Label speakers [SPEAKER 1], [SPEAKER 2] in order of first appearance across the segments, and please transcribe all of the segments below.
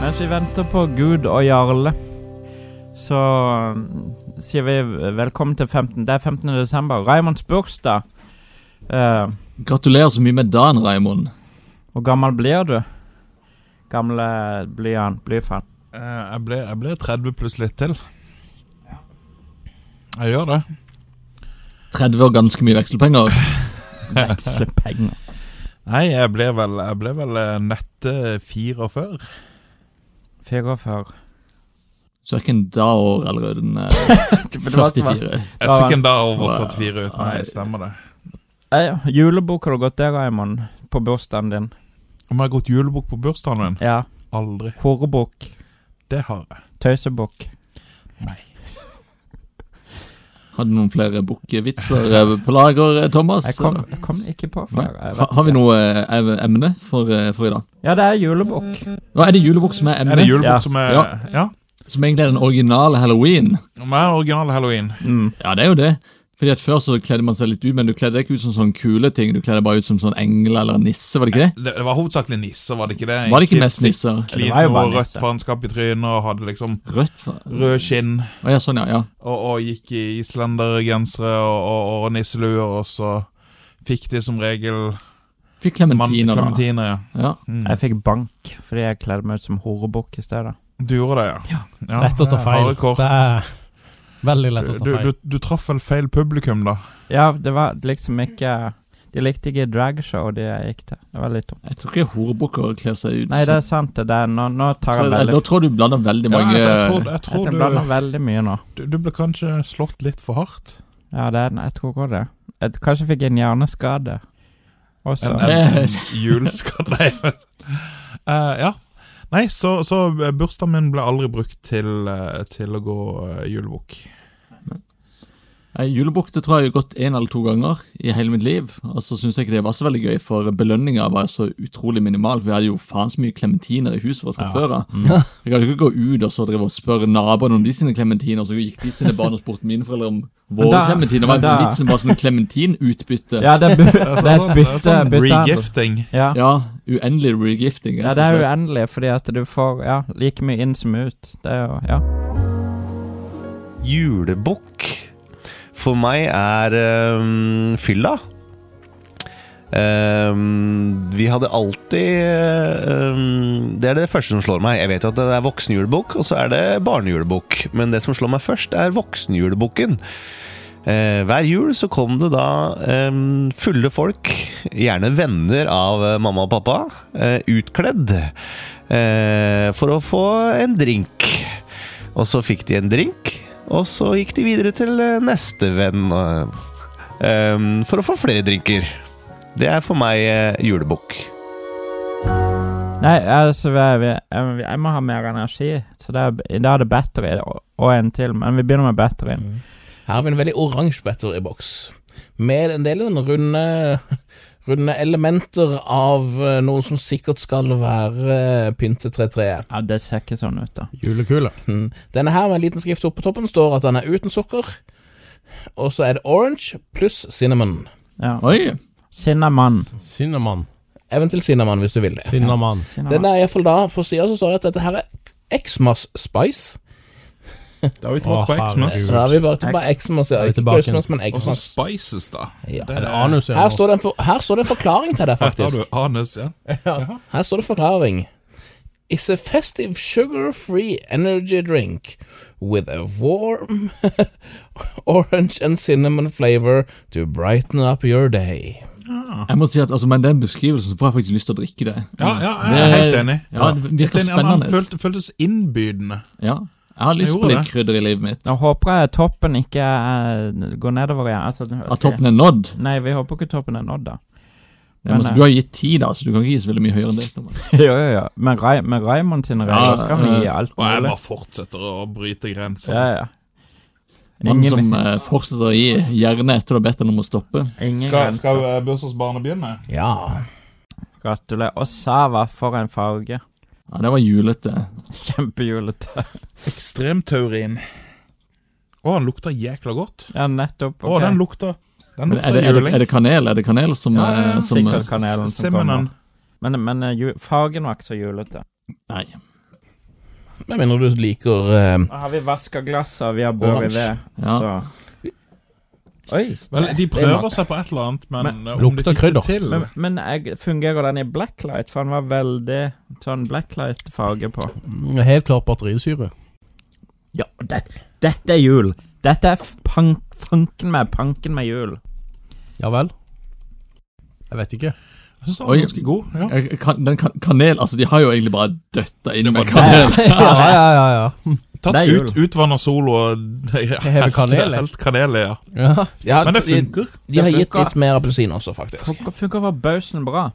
[SPEAKER 1] Mens vi venter på Gud og Jarle, så mm, sier vi velkommen til 15. Det er 15. desember, Raimonds bursdag. Eh,
[SPEAKER 2] Gratulerer så mye med dagen, Raimond.
[SPEAKER 1] hvor gammel blir du? Gamle blyant, blyfan.
[SPEAKER 3] Eh, Jeg ble, jeg ble 30 pluss litt til. Jeg gjør det.
[SPEAKER 2] 30 og ganske mye vekselpenger.
[SPEAKER 1] Veksle penger.
[SPEAKER 3] Nei, jeg ble vel, jeg ble vel eh, nette 44.
[SPEAKER 1] Fire år før.
[SPEAKER 2] Så er ikke en dag år allerede den eh,
[SPEAKER 1] det var altså- så bra.
[SPEAKER 2] 44.
[SPEAKER 3] Jeg er sikkert da over
[SPEAKER 2] Wow.
[SPEAKER 3] 44 uten
[SPEAKER 2] Nei.
[SPEAKER 3] jeg stemmer det.
[SPEAKER 1] Eh, ja, julebok har du gått der, Raimond. På bursdagen din.
[SPEAKER 3] Om jeg har gått julebukk på bursdagen min?
[SPEAKER 1] Ja.
[SPEAKER 3] Aldri.
[SPEAKER 1] Horebok.
[SPEAKER 3] Det har jeg.
[SPEAKER 1] Tøysebok.
[SPEAKER 2] Hadde noen flere bukkevitser eh, på lager, eh, Thomas?
[SPEAKER 1] Jeg kom, jeg kom ikke på
[SPEAKER 2] Nei.
[SPEAKER 1] flere. jeg
[SPEAKER 2] Ha,
[SPEAKER 1] vet
[SPEAKER 2] har vi
[SPEAKER 1] ikke.
[SPEAKER 2] noe eh, ev- emne for, eh, for i dag?
[SPEAKER 1] Ja, det er julebok.
[SPEAKER 2] Nå er det julebukk som er
[SPEAKER 3] Er det
[SPEAKER 2] emnet,
[SPEAKER 3] julebukk
[SPEAKER 1] Ja.
[SPEAKER 3] som er ja.
[SPEAKER 2] Ja. som egentlig er den originale halloween.
[SPEAKER 3] Om jeg er original halloween.
[SPEAKER 1] Mm.
[SPEAKER 2] Ja, det er jo det. Fordi at Før så kledde man seg litt ut, men du kledde deg ikke ut som sånn kule ting. Du kledde deg bare ut som sånn engel eller nisse, var det ikke det?
[SPEAKER 3] Det, det var hovedsakelig nisser, var det ikke det?
[SPEAKER 2] Var det ikke mest nisser?
[SPEAKER 1] Det
[SPEAKER 3] Klin
[SPEAKER 1] var jo bare
[SPEAKER 3] og rødt
[SPEAKER 1] nisser.
[SPEAKER 3] faenskap i trynet og hadde liksom
[SPEAKER 2] Rødt? Å
[SPEAKER 3] rød skinn
[SPEAKER 2] ja, sånn, ja. ja.
[SPEAKER 3] og, og gikk i islendergensere og, og, og nisseluer, og så fikk de som regel
[SPEAKER 2] Fikk
[SPEAKER 3] mann-
[SPEAKER 2] klementiner, da.
[SPEAKER 3] Clementiner, ja.
[SPEAKER 2] Ja.
[SPEAKER 3] Mm.
[SPEAKER 1] Jeg fikk bank fordi jeg kledde meg ut som horebukk i stedet.
[SPEAKER 3] Du gjorde det, ja. Ja,
[SPEAKER 4] Lett å ta
[SPEAKER 3] ja,
[SPEAKER 4] feil.
[SPEAKER 3] harde kår.
[SPEAKER 4] Det er veldig lett å ta
[SPEAKER 3] Du,
[SPEAKER 4] feil.
[SPEAKER 3] du, du traff vel feil publikum, da.
[SPEAKER 1] Ja, det var liksom ikke De likte ikke dragshow de jeg gikk til. Det var litt dumt.
[SPEAKER 2] Jeg tror ikke horebukker kler seg ut
[SPEAKER 1] Nei, det
[SPEAKER 2] sånn.
[SPEAKER 1] er sant. det der. Nå, nå tar
[SPEAKER 2] Så
[SPEAKER 1] jeg
[SPEAKER 2] jeg-
[SPEAKER 1] veldig
[SPEAKER 2] Da tror jeg du blander veldig mange
[SPEAKER 3] ja, jeg, jeg tror, jeg tror
[SPEAKER 1] Jeg blander veldig mye nå.
[SPEAKER 3] du, du ble kanskje slått litt for hardt.
[SPEAKER 1] Ja, det er, jeg tror også det. Jeg kanskje fikk en hjerneskade også.
[SPEAKER 3] En,
[SPEAKER 2] Det-
[SPEAKER 3] en, en juleskade Nei, men- Eh, Ja. Nei, så, så bursdagen min ble aldri brukt til, eh, til å gå eh, julebukk.
[SPEAKER 2] Nei, Julebukk det tror jeg jeg har gått én eller to ganger i hele mitt liv. Og så syns jeg ikke det var så veldig gøy, for belønninga var så utrolig minimal. For vi hadde jo faen så mye klementiner i huset vårt fra
[SPEAKER 4] Ja.
[SPEAKER 2] før av.
[SPEAKER 3] Mm.
[SPEAKER 2] Jeg kan jo ikke gå ut og så drive og spørre naboene om de sine klementiner, og så gikk de sine barn og spurte mine foreldre om våre
[SPEAKER 1] da-
[SPEAKER 2] klementiner. Det
[SPEAKER 1] men
[SPEAKER 2] var
[SPEAKER 1] da-
[SPEAKER 2] jo vitsen bare sånn klementinutbytte.
[SPEAKER 1] Ja, det er, bu
[SPEAKER 3] Det er
[SPEAKER 1] det er et
[SPEAKER 3] sånn- det er
[SPEAKER 1] bytte.
[SPEAKER 3] sånn
[SPEAKER 1] byttehandel.
[SPEAKER 3] Regifting.
[SPEAKER 1] Ja.
[SPEAKER 2] Ja, uendelig regifting.
[SPEAKER 1] ja, det er uendelig, fordi at du får ja, like mye inn som ut. Det er jo Ja.
[SPEAKER 5] Julebukk for meg er ehm, fylla. Ehm, vi hadde alltid ehm, Det er det første som slår meg. Jeg vet jo at det er voksenjulebukk, og så er det barnejulebukk. Men det som slår meg først, er voksenjulebukken. Eh, hver jul så kom det da ehm, fulle folk, gjerne venner av eh, mamma og pappa, eh, utkledd eh, for å få en drink. Og så fikk de en drink, og så gikk de videre til eh, neste venn eh, ehm, for å få flere drinker. Det er for meg eh, julebukk.
[SPEAKER 1] Nei, altså, vi, vi, jeg, jeg må ha mer energi. Så det er, i dag er det battery og, og en til, men vi begynner med batterien.
[SPEAKER 6] Her har vi en veldig oransje batteryboks, med en del sånne runde, runde elementer av eh, noe som sikkert skal være eh, pyntetretreet.
[SPEAKER 1] Ja, det ser ikke sånn ut, da.
[SPEAKER 4] Julekule.
[SPEAKER 6] Mm. Denne her med en liten skrift oppe på toppen står at den er uten sukker, og så er det orange pluss cinnamon.
[SPEAKER 1] Ja.
[SPEAKER 2] Oi!
[SPEAKER 1] Sinnamann.
[SPEAKER 4] Sinnamann.
[SPEAKER 6] Eventuelt cinnamon, hvis du vil det.
[SPEAKER 4] Sinnamann.
[SPEAKER 6] Den er iallfall da, på sida så står det at dette her er Xmas spice.
[SPEAKER 3] Det har vi ikke vært på
[SPEAKER 4] Å,
[SPEAKER 3] Xmas.
[SPEAKER 6] Så da har vi bare tilbake Xmas,
[SPEAKER 4] Da
[SPEAKER 6] ja.
[SPEAKER 4] er vi
[SPEAKER 6] Ikke
[SPEAKER 4] tilbake
[SPEAKER 6] Christmas, men
[SPEAKER 3] Og så
[SPEAKER 6] Xmas.
[SPEAKER 3] Spices, da.
[SPEAKER 6] Ja.
[SPEAKER 3] Det
[SPEAKER 4] Er det anus
[SPEAKER 6] Her
[SPEAKER 4] eller noe?
[SPEAKER 6] står det en, for, her står det en forklaring til det,
[SPEAKER 3] Da har
[SPEAKER 6] faktisk.
[SPEAKER 3] du anus, ja.
[SPEAKER 6] Her står det forklaring. It's a festive sugar-free energy drink with a warm orange and cinnamon flavor to brighten up your day.
[SPEAKER 2] Jeg må si at, altså, Men den beskrivelsen så får jeg faktisk lyst til å drikke det.
[SPEAKER 3] Ja, ja jeg er helt enig.
[SPEAKER 2] Ja, Det
[SPEAKER 3] Helt
[SPEAKER 2] virker
[SPEAKER 3] enig, han- han
[SPEAKER 2] spennende.
[SPEAKER 3] følte- føltes innbydende.
[SPEAKER 2] Ja, Jeg har lyst
[SPEAKER 3] Jeg
[SPEAKER 2] på
[SPEAKER 3] gjorde
[SPEAKER 2] litt krydder i livet mitt.
[SPEAKER 1] Nå håper jeg toppen ikke eh, går nedover igjen. Altså,
[SPEAKER 2] At toppen er nådd.
[SPEAKER 1] Nei, vi håper ikke toppen er nådd, da.
[SPEAKER 2] Ja, men,
[SPEAKER 1] Men,
[SPEAKER 2] altså, du har gitt ti, da, så du kan ikke gi så veldig mye høyere enn det. Thomas.
[SPEAKER 1] jo, jo, jo. Men, Rai, men Raymond sine regler
[SPEAKER 2] Ja,
[SPEAKER 1] skal vi
[SPEAKER 2] eh,
[SPEAKER 1] gi alt
[SPEAKER 3] Og jeg
[SPEAKER 1] mulig.
[SPEAKER 3] bare fortsetter å bryte grenser.
[SPEAKER 1] Ja, ja.
[SPEAKER 2] Mannen
[SPEAKER 1] Ingen,
[SPEAKER 2] som eh, fortsetter å gi, gjerne etter du har bedt ham om å stoppe.
[SPEAKER 1] ingen
[SPEAKER 3] Skal, skal
[SPEAKER 1] grenser.
[SPEAKER 3] eh, bursdagsbarnet begynne?
[SPEAKER 6] Ja.
[SPEAKER 1] Gratulerer. Og Sava, for en farge.
[SPEAKER 2] Ja, Det var julete.
[SPEAKER 1] Kjempehjulete.
[SPEAKER 3] Ekstremtaurin. Å, den lukter jækla godt.
[SPEAKER 1] Ja, nettopp.
[SPEAKER 3] Å,
[SPEAKER 1] ok.
[SPEAKER 3] den lukter Den
[SPEAKER 2] Men Er
[SPEAKER 3] lukter
[SPEAKER 2] det, er, det,
[SPEAKER 3] juling.
[SPEAKER 2] er det kanel Er det kanel som,
[SPEAKER 3] Ja, ja, ja.
[SPEAKER 2] eh, som eh,
[SPEAKER 1] Sikkert kanelen som
[SPEAKER 3] Simmenen.
[SPEAKER 1] kommer. Men, men eh, ju, fargen var ikke så julete.
[SPEAKER 2] Nei.
[SPEAKER 6] Med mindre du liker eh,
[SPEAKER 1] Nå har vi vaska glasset, vi har båret
[SPEAKER 6] Oransje.
[SPEAKER 1] ved,
[SPEAKER 2] Ja.
[SPEAKER 1] så Oi.
[SPEAKER 3] Vel, de
[SPEAKER 6] det er
[SPEAKER 3] prøver
[SPEAKER 6] mat.
[SPEAKER 3] seg på et eller annet, men,
[SPEAKER 1] Men-
[SPEAKER 3] eh, om
[SPEAKER 4] Lukter
[SPEAKER 3] de fikk det
[SPEAKER 4] krydder.
[SPEAKER 3] til
[SPEAKER 1] Men, men jeg, fungerer den i blacklight? For den var veldig sånn blacklight-farge på.
[SPEAKER 4] Mm, Helt klart batterisyre.
[SPEAKER 1] Ja, og det, dette er jul. Dette er f- pank, fanken meg panken meg jul.
[SPEAKER 4] Ja vel? Jeg vet ikke.
[SPEAKER 3] Jeg synes den
[SPEAKER 2] Oi.
[SPEAKER 3] var ganske god. Ja.
[SPEAKER 2] Jeg- jeg Eh, Kan, den kan, kanel Altså, de har jo egentlig bare døtta inn
[SPEAKER 3] Det
[SPEAKER 2] med
[SPEAKER 3] var-
[SPEAKER 2] kanel.
[SPEAKER 4] ja, ja, ja, ja.
[SPEAKER 3] Tatt
[SPEAKER 1] Det er jul.
[SPEAKER 3] ut, utvanna solo og
[SPEAKER 4] Hever kanel, jeg.
[SPEAKER 3] helt kanel i, ja.
[SPEAKER 4] ja.
[SPEAKER 6] ja,
[SPEAKER 3] Men det
[SPEAKER 6] de,
[SPEAKER 3] funker.
[SPEAKER 6] de har
[SPEAKER 1] Det
[SPEAKER 6] gitt
[SPEAKER 1] funker.
[SPEAKER 6] litt mer appelsin også, faktisk.
[SPEAKER 1] Funker, funker forbausen bra.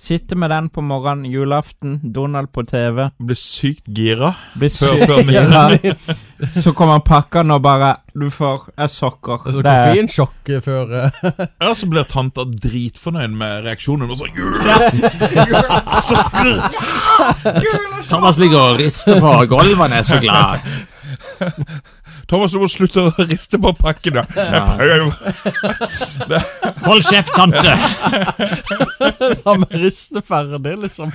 [SPEAKER 1] Sitte med den på morgenen, julaften, Donald på TV.
[SPEAKER 3] Blir sykt gira
[SPEAKER 1] Blir
[SPEAKER 3] før,
[SPEAKER 1] syk,
[SPEAKER 3] før middag.
[SPEAKER 1] så kommer pakken og bare Du får er sokker.
[SPEAKER 4] Altså,
[SPEAKER 1] Det er-
[SPEAKER 4] Koffeinsjokk før eh,
[SPEAKER 3] Ja, så blir tanta dritfornøyd med reaksjonen. Og så «Jula! Jula! Sukker!
[SPEAKER 2] Thomas ligger og rister på gulvet, han er så glad.
[SPEAKER 3] Thomas, du må slutte å riste på pakken. Ja. Jeg prøver.
[SPEAKER 2] Hold kjeft, tante!
[SPEAKER 4] ameristene ferdig, liksom.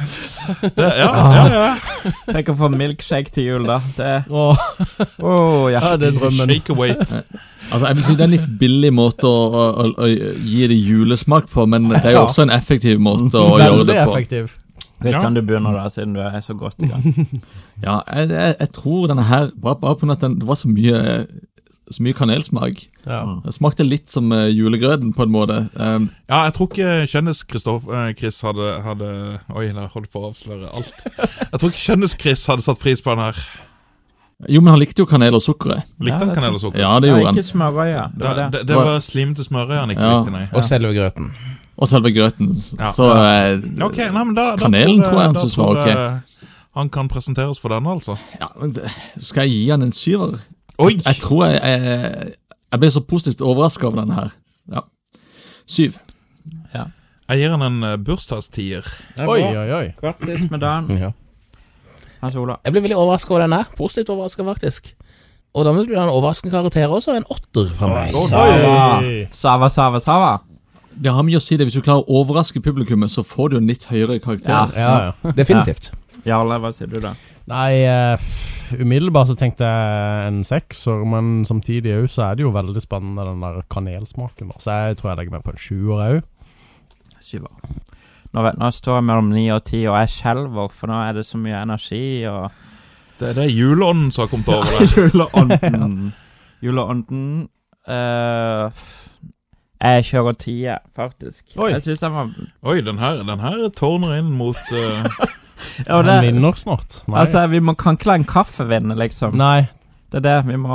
[SPEAKER 3] Det, ja, ja, ja.
[SPEAKER 1] Tenk å få milkshake til jul, da. Det er
[SPEAKER 4] Åh,
[SPEAKER 1] Åh, ja.
[SPEAKER 4] ja, det er drømmen.
[SPEAKER 3] Shake a weight.
[SPEAKER 2] Altså, jeg vil si Det er en litt billig måte å, å, å, å gi det julesmak på, men det er jo
[SPEAKER 4] Ja.
[SPEAKER 2] også en effektiv måte å gjøre
[SPEAKER 4] Veldig
[SPEAKER 2] det på.
[SPEAKER 4] effektiv.
[SPEAKER 1] Kristian, du begynner da, siden du er så godt i gang.
[SPEAKER 2] Ja, jeg, jeg, jeg tror denne her Bare, bare på grunn av at den, det var så mye, så mye kanelsmak.
[SPEAKER 4] Ja.
[SPEAKER 2] Det smakte litt som eh, julegrøten, på en måte. Um,
[SPEAKER 3] Ja, jeg tror ikke Kjendis-Chris hadde, hadde Oi, jeg holdt på å avsløre alt. Jeg tror ikke Kjendis-Chris hadde satt pris på den her.
[SPEAKER 2] jo, men han likte jo kanel og sukkeret.
[SPEAKER 1] Ja,
[SPEAKER 3] Likte han
[SPEAKER 1] det
[SPEAKER 3] kanel og sukker?
[SPEAKER 2] Ja, det
[SPEAKER 1] Ja,
[SPEAKER 2] gjorde han.
[SPEAKER 1] ikke smørøya. Det var
[SPEAKER 3] Det,
[SPEAKER 1] det.
[SPEAKER 3] det, det var slimete smørøy han ikke
[SPEAKER 2] Ja.
[SPEAKER 3] likte, nei.
[SPEAKER 6] Og selve grøten.
[SPEAKER 2] Og selve grøten.
[SPEAKER 3] Ja.
[SPEAKER 2] Så eh,
[SPEAKER 3] Ok, nei, men da, da
[SPEAKER 2] Kanelen tror jeg han
[SPEAKER 3] da
[SPEAKER 2] synes var
[SPEAKER 3] tror jeg Han kan presenteres for denne, altså.
[SPEAKER 2] ja, men det- Skal jeg gi han en syver?
[SPEAKER 3] Oi!
[SPEAKER 2] Jeg tror jeg Jeg, jeg ble så positivt overraska over denne her. Ja. Syv.
[SPEAKER 3] Jeg gir han en eh, bursdagstier.
[SPEAKER 1] Det
[SPEAKER 4] Oi,
[SPEAKER 1] var bra.
[SPEAKER 4] oi, oi.
[SPEAKER 1] Grattis med dagen,
[SPEAKER 6] Ja.
[SPEAKER 1] Hans Ola.
[SPEAKER 6] Jeg ble veldig overraska over den her. Positivt overraska, faktisk. Og da blir han en overraskende karakter også. En åtter fra meg.
[SPEAKER 1] Sava. Sava, Sava, Sava.
[SPEAKER 2] Det har mye å si det. Hvis du klarer å overraske publikummet, så får du en litt høyere karakter.
[SPEAKER 4] Ja, ja.
[SPEAKER 6] Definitivt.
[SPEAKER 1] Jarle, hva sier du da?
[SPEAKER 4] Nei, eh, pff, umiddelbart så tenkte jeg en sekser, men samtidig òg så er det jo veldig spennende den der kanelsmaken. Da. Så jeg tror jeg legger meg på en sjuer òg.
[SPEAKER 1] Syver. Nå, vet, nå står jeg mellom ni og ti, og jeg skjelver, for nå er det så mye energi og
[SPEAKER 3] Det, det er juleånden som har kommet over deg.
[SPEAKER 1] Juleånden. Juleånden eh, f- Jeg kjører tier, faktisk.
[SPEAKER 4] Oi.
[SPEAKER 1] Jeg syns den var
[SPEAKER 3] Oi, den her, den her tårner inn mot eh,
[SPEAKER 1] Ja,
[SPEAKER 4] Han
[SPEAKER 1] det,
[SPEAKER 4] vinner snart. Nei.
[SPEAKER 1] Altså, vi må, kan ikke la en kaffe vinne, liksom.
[SPEAKER 4] Nei.
[SPEAKER 1] Det er det vi må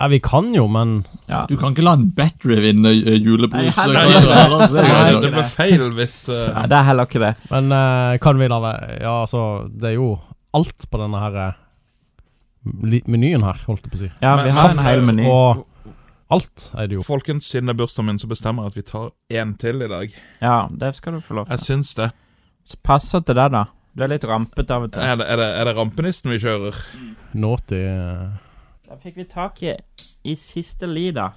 [SPEAKER 4] Ja, vi kan jo, men
[SPEAKER 1] Ja.
[SPEAKER 2] Du kan ikke la en battery vinne eh,
[SPEAKER 1] Nei,
[SPEAKER 2] julebrus.
[SPEAKER 1] heller
[SPEAKER 2] eh,
[SPEAKER 1] ikke.
[SPEAKER 2] karakter, altså, det
[SPEAKER 1] Nei,
[SPEAKER 2] er
[SPEAKER 3] Nei,
[SPEAKER 2] jo-
[SPEAKER 3] det ble feil hvis eh,
[SPEAKER 1] Nei, det er heller ikke det.
[SPEAKER 4] Men eh, kan vi la det Ja, altså, det er jo alt på denne her eh, li- menyen her, holdt jeg på å si.
[SPEAKER 1] Ja,
[SPEAKER 3] Men-
[SPEAKER 1] vi har en hel meny.
[SPEAKER 4] Og alt er det jo.
[SPEAKER 3] eh, Folkens, siden det er bursdagen min, så bestemmer jeg at vi tar én til i dag.
[SPEAKER 1] Ja, det skal du få lov
[SPEAKER 3] Jeg
[SPEAKER 1] til.
[SPEAKER 3] syns det.
[SPEAKER 1] Så passer til deg, da. Du er litt rampete av og til.
[SPEAKER 3] Er det, er det, er det rampenissen vi kjører?
[SPEAKER 4] Naughty eh,
[SPEAKER 1] Da fikk vi tak i i siste li, da.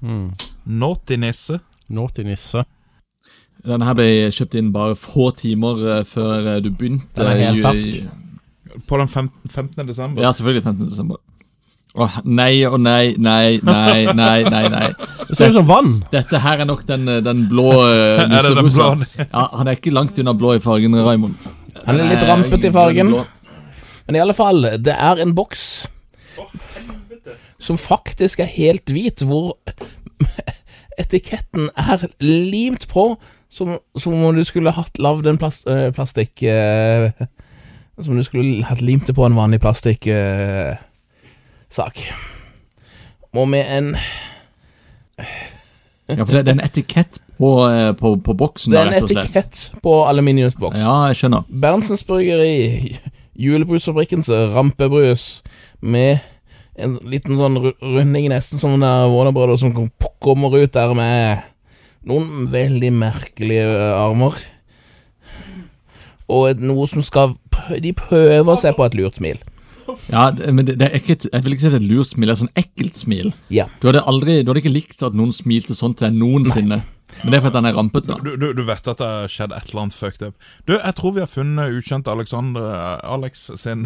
[SPEAKER 4] mm,
[SPEAKER 3] Naughty nisse.
[SPEAKER 4] Naughty nisse.
[SPEAKER 2] Denne her ble kjøpt inn bare få timer eh, før eh, du begynte.
[SPEAKER 4] Den er helt
[SPEAKER 2] ju-
[SPEAKER 4] fersk.
[SPEAKER 3] På den fem, 15. desember.
[SPEAKER 2] Ja, selvfølgelig 15. desember. Åh, nei og nei, nei, nei, nei, nei. nei.
[SPEAKER 4] Det ser ut som vann!
[SPEAKER 2] Dette her er nok den, eh, den blå eh,
[SPEAKER 3] Er det den
[SPEAKER 2] nisseblusa.
[SPEAKER 3] planen?
[SPEAKER 2] Ja, han er ikke langt unna blå i fargen, Raymond.
[SPEAKER 6] Han er litt
[SPEAKER 2] Eh,
[SPEAKER 6] rampete i
[SPEAKER 2] grønn,
[SPEAKER 6] fargen.
[SPEAKER 2] blå.
[SPEAKER 6] Men i alle fall, det er en boks som faktisk er helt hvit, hvor etiketten er limt på, som, som om du skulle hatt lagd en plast, eh, plastikk eh, Som du skulle hatt limt det på en vanlig plastikksak. Og med en
[SPEAKER 2] Ja, for det, det er en etikett på, eh, på, på boksen,
[SPEAKER 6] Det
[SPEAKER 2] da,
[SPEAKER 6] er en
[SPEAKER 2] rett og slett.
[SPEAKER 6] etikett på aluminiumsboks.
[SPEAKER 2] Ja, jeg skjønner.
[SPEAKER 6] Berntsens Bryggeri, julebrusfabrikkens rampebrus, med en liten sånn ru- runding, nesten som det er Wonderbrød, som kom- kommer ut der med noen veldig merkelige ø, armer. Og et- noe som skal p- De prøver seg på et lurt smil.
[SPEAKER 2] Ja, det- men det, det er ikke et, Jeg vil ikke si det er et lurt smil, det er sånn ekkelt smil.
[SPEAKER 6] Ja.
[SPEAKER 2] Du hadde, aldri, du hadde ikke likt at noen smilte sånn til deg noensinne. Men det er fordi han er rampete. da.
[SPEAKER 3] Du, du, du vet at det har skjedd et eller annet fucked up. Du, jeg tror vi har funnet ukjent Alexander Alex eh, sin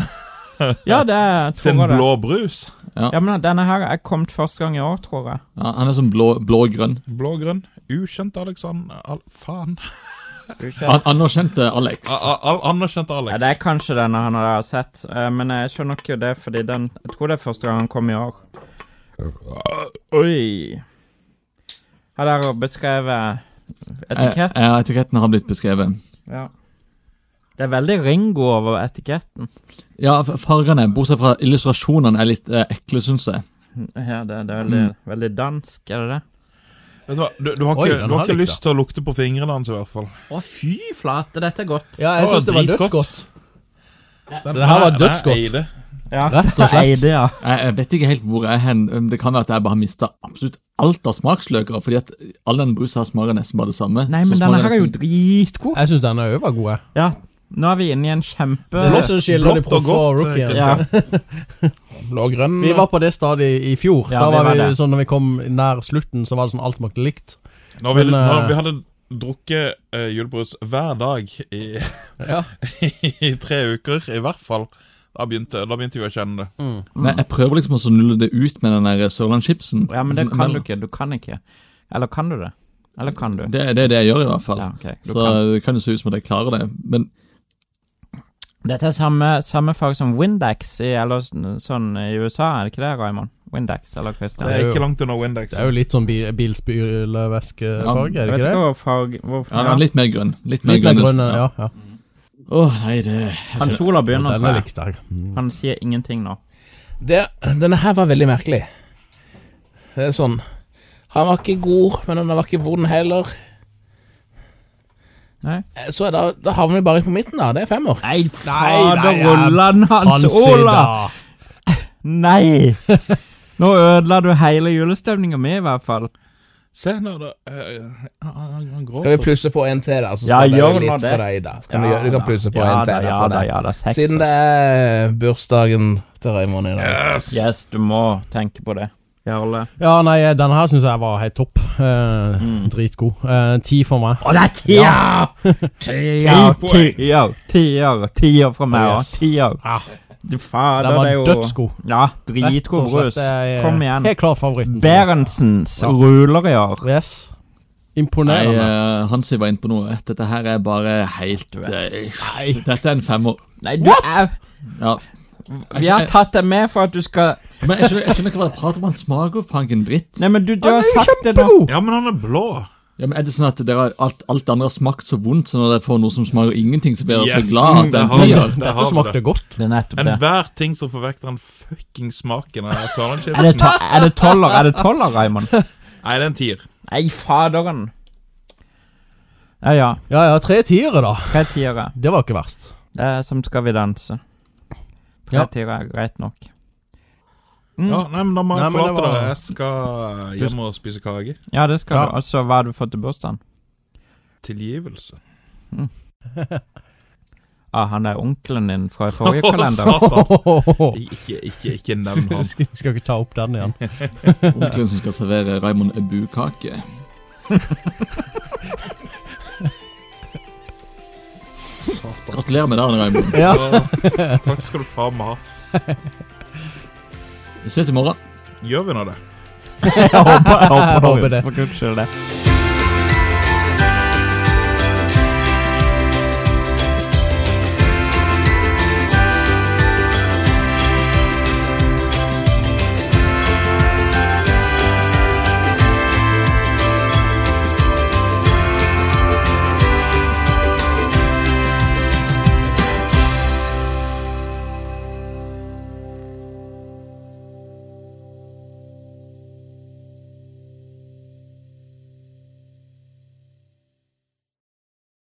[SPEAKER 1] Ja, det er jeg
[SPEAKER 3] Sin
[SPEAKER 1] tror det.
[SPEAKER 3] blå brus.
[SPEAKER 1] Ja, men denne her er kommet første gang i år, tror jeg.
[SPEAKER 2] Ja, han er sånn blå- blå-grønn.
[SPEAKER 3] Blå-grønn. Ukjent Alexander al Faen.
[SPEAKER 2] Blå Anerkjente eh, Alex.
[SPEAKER 3] A- a- al- Anerkjent
[SPEAKER 1] Ja,
[SPEAKER 3] Alex.
[SPEAKER 1] det er kanskje denne han har sett, eh, men jeg skjønner ikke det, fordi den Jeg tror det er første gang han kom i år. Oi. Har dere beskrevet etikett?
[SPEAKER 2] Eh, eh, etiketten har blitt beskrevet.
[SPEAKER 1] Ja. Det er veldig Ringo over etiketten.
[SPEAKER 2] Ja, f- fargene, bortsett fra illustrasjonene, er litt eh, ekle, syns jeg.
[SPEAKER 1] Ja, det, det er veldig, veldig dansk, er det det?
[SPEAKER 3] Vet du hva, du, du har
[SPEAKER 4] Oi,
[SPEAKER 3] ikke,
[SPEAKER 4] den
[SPEAKER 3] du
[SPEAKER 4] har
[SPEAKER 3] har ikke
[SPEAKER 4] jeg likt,
[SPEAKER 3] lyst til å lukte på fingrene hans, i hvert fall.
[SPEAKER 1] Å, fy flate, dette er godt.
[SPEAKER 4] Ja,
[SPEAKER 3] jeg Det var synes det var dritgodt. dødsgodt. Den,
[SPEAKER 4] Det her var dødsgodt.
[SPEAKER 3] Eide.
[SPEAKER 1] Ja,
[SPEAKER 4] Rett og slett.
[SPEAKER 1] Eide, ja.
[SPEAKER 2] jeg. Jeg vet ikke helt hvor jeg er hen. Um, Det kan være at jeg bare har mista absolutt alt av smaksløker, fordi at all den brusen her smaker nesten bare det samme.
[SPEAKER 1] Nei,
[SPEAKER 2] Så
[SPEAKER 1] men denne
[SPEAKER 2] smaker
[SPEAKER 1] her er jo
[SPEAKER 2] nesten-
[SPEAKER 1] dritgod.
[SPEAKER 4] Jeg syns denne òg var god.
[SPEAKER 1] Ja, nå er vi inne i en kjempe...
[SPEAKER 4] Det er det som skiller Eh, de altså.
[SPEAKER 3] blått og
[SPEAKER 4] proffe og
[SPEAKER 3] godt,
[SPEAKER 4] rookiene.
[SPEAKER 1] Ja,
[SPEAKER 6] Blå-grønn
[SPEAKER 4] Vi var på det stadiet i fjor.
[SPEAKER 1] Ja,
[SPEAKER 4] da
[SPEAKER 1] vi
[SPEAKER 4] var
[SPEAKER 1] var
[SPEAKER 4] vi,
[SPEAKER 1] det.
[SPEAKER 4] sånn, når vi kom nær slutten, så var det sånn alt smakte likt.
[SPEAKER 3] Når vi,
[SPEAKER 4] Men, eh,
[SPEAKER 3] når vi hadde drukket eh, julebrus hver dag i,
[SPEAKER 4] Ja.
[SPEAKER 3] i tre uker, i hvert fall, da begynte, da begynte vi å kjenne det.
[SPEAKER 2] Men jeg prøver liksom også å nulle det ut med den der Sørlandschipsen.
[SPEAKER 1] ja men det
[SPEAKER 2] Men-
[SPEAKER 1] kan du ikke. Du kan ikke. Eller kan du det? Eller kan du?
[SPEAKER 2] Det, er- det er det jeg gjør, i hvert fall.
[SPEAKER 1] Ja, ok. Du
[SPEAKER 2] Så
[SPEAKER 1] kan.
[SPEAKER 2] det kan jo se ut som at jeg klarer det. Men
[SPEAKER 1] Dette er samme, samme fag som Windex i, eller sånn- sånn i USA, er det ikke det, Raymond? Windex eller Christian?
[SPEAKER 3] Det
[SPEAKER 4] er
[SPEAKER 3] er
[SPEAKER 4] jo-
[SPEAKER 3] ikke langt unna Windex.
[SPEAKER 4] Det er jo litt sånn bi- bilspylevæskefarge,
[SPEAKER 1] Jeg vet
[SPEAKER 4] er det ikke
[SPEAKER 1] ikke
[SPEAKER 4] det?
[SPEAKER 1] hvor farg... Hvor,
[SPEAKER 2] ja,
[SPEAKER 1] ja.
[SPEAKER 2] litt mer grønn. Litt mer
[SPEAKER 4] Litt mer
[SPEAKER 2] grønn.
[SPEAKER 4] grønn, ja. ja.
[SPEAKER 2] Åh, nei, det
[SPEAKER 1] Han Sola begynner,
[SPEAKER 4] Denne
[SPEAKER 1] tror jeg.
[SPEAKER 4] likte jeg.
[SPEAKER 1] Han sier ingenting nå.
[SPEAKER 6] det, Denne her var veldig merkelig. Det er sånn Han var ikke god, men han var ikke vond heller.
[SPEAKER 1] Nei.
[SPEAKER 6] Eh, Så er da, da havner vi bare på midten, da. Det er femmer.
[SPEAKER 1] Nei,
[SPEAKER 4] nei,
[SPEAKER 1] fader,
[SPEAKER 4] ja.
[SPEAKER 1] Rolland Hans Ola! Nei! Nå ødela du hele julestemninga mi, i hvert fall.
[SPEAKER 3] Se nå, da. eh, han- han han
[SPEAKER 6] Skal vi
[SPEAKER 3] gråter.
[SPEAKER 6] plusse på en til, da? Så
[SPEAKER 1] Ja,
[SPEAKER 6] skal det
[SPEAKER 1] gjør
[SPEAKER 6] være
[SPEAKER 1] nå
[SPEAKER 6] litt
[SPEAKER 1] det.
[SPEAKER 6] for deg, da. Så kan du,
[SPEAKER 1] Ja
[SPEAKER 6] gjøre- du
[SPEAKER 1] da.
[SPEAKER 6] kan plusse på
[SPEAKER 1] Ja
[SPEAKER 6] en til.
[SPEAKER 1] da,
[SPEAKER 6] da,
[SPEAKER 1] ja
[SPEAKER 6] for
[SPEAKER 1] da,
[SPEAKER 6] deg.
[SPEAKER 1] ja da, seks.
[SPEAKER 6] Siden det er bursdagen til Raymond i dag.
[SPEAKER 3] Yes!
[SPEAKER 1] Yes, du må tenke på det. Jarle.
[SPEAKER 4] Ja, nei, denne her syns jeg var helt topp. Eh,
[SPEAKER 3] Mm.
[SPEAKER 4] Dritgod. Eh, Ti for meg.
[SPEAKER 1] Å, det er tiår! Tiår,
[SPEAKER 3] poeng.
[SPEAKER 1] tiår, tiår, tiår fra meg
[SPEAKER 4] Oh,
[SPEAKER 1] òg.
[SPEAKER 4] yes.
[SPEAKER 1] Tiår.
[SPEAKER 4] Ja,
[SPEAKER 1] Du fader,
[SPEAKER 4] den
[SPEAKER 1] det
[SPEAKER 4] var
[SPEAKER 1] er jo
[SPEAKER 4] dødsgod.
[SPEAKER 1] Ja,
[SPEAKER 4] Rett og
[SPEAKER 1] dritgod
[SPEAKER 4] slett,
[SPEAKER 1] brus.
[SPEAKER 4] det er, eh,
[SPEAKER 1] Kom igjen.
[SPEAKER 4] Helt klar favoritten.
[SPEAKER 1] Berentsens
[SPEAKER 4] Ja.
[SPEAKER 1] ruler i år.
[SPEAKER 4] Yes.
[SPEAKER 2] Nei,
[SPEAKER 4] Imponerende.
[SPEAKER 2] eh, Hansi var inne på noe. Dette her er bare helt
[SPEAKER 1] Du er-
[SPEAKER 2] eh, Dette er en femmer.
[SPEAKER 1] Nei, du er
[SPEAKER 2] Ja.
[SPEAKER 1] Vi har tatt deg med for at du skal
[SPEAKER 2] Men jeg skjønner, jeg skjønner ikke hva det prater om. Han smaker jo fanken dritt.
[SPEAKER 1] Nei, men du, du har sagt det nå.
[SPEAKER 3] Ja, men han er blå.
[SPEAKER 2] Ja, men er det sånn at dere, har- alt, alt det andre har smakt så vondt, så når dere får noe som smaker ingenting, så blir dere
[SPEAKER 3] Yes,
[SPEAKER 2] så glad at det
[SPEAKER 3] det
[SPEAKER 2] er
[SPEAKER 3] har
[SPEAKER 2] en
[SPEAKER 3] vi.
[SPEAKER 2] tier?
[SPEAKER 3] Der
[SPEAKER 4] Dette
[SPEAKER 3] har vi
[SPEAKER 4] smakte
[SPEAKER 3] det.
[SPEAKER 4] godt.
[SPEAKER 1] Det er nettopp det.
[SPEAKER 3] Enhver ting som forvekter den fucking smaken av
[SPEAKER 1] Er det,
[SPEAKER 3] sørlandschipsen.
[SPEAKER 1] to er det toller, er det toller, Raymond?
[SPEAKER 3] Nei, det er en tier.
[SPEAKER 1] Nei, faderen. Ja, ja.
[SPEAKER 4] Ja ja, tre tiere, da.
[SPEAKER 1] Tre tiere.
[SPEAKER 4] Det var ikke verst.
[SPEAKER 1] Det er Eh, som Skal vi danse. Tre
[SPEAKER 4] Ja.
[SPEAKER 1] tiere er greit nok.
[SPEAKER 3] Ja, nei, men Da må jeg
[SPEAKER 4] Mm. Nei, men
[SPEAKER 3] forlate
[SPEAKER 4] det var-
[SPEAKER 3] det. Jeg skal hjem og spise kake.
[SPEAKER 1] Ja, det skal
[SPEAKER 4] Ja.
[SPEAKER 1] du. Altså, hva har du fått til bursdagen?
[SPEAKER 3] Tilgivelse.
[SPEAKER 1] Ah, han er onkelen din fra forrige kalender.
[SPEAKER 3] Satan.
[SPEAKER 4] Vi
[SPEAKER 3] Ikke, ikke, ikke nevn han.
[SPEAKER 4] skal ikke ta opp den igjen.
[SPEAKER 2] Onkelen som skal servere Raymond Ebu-kake.
[SPEAKER 3] Satan.
[SPEAKER 2] Gratulerer med dagen, Raymond.
[SPEAKER 4] Ja.
[SPEAKER 3] Så, Takk skal du faen meg ha.
[SPEAKER 2] Vi ses i morgen.
[SPEAKER 3] Gjør vi nå det?
[SPEAKER 1] Jeg håper, jeg håper,
[SPEAKER 4] Jeg håper
[SPEAKER 1] det.
[SPEAKER 4] det.
[SPEAKER 1] For guds skyld, det.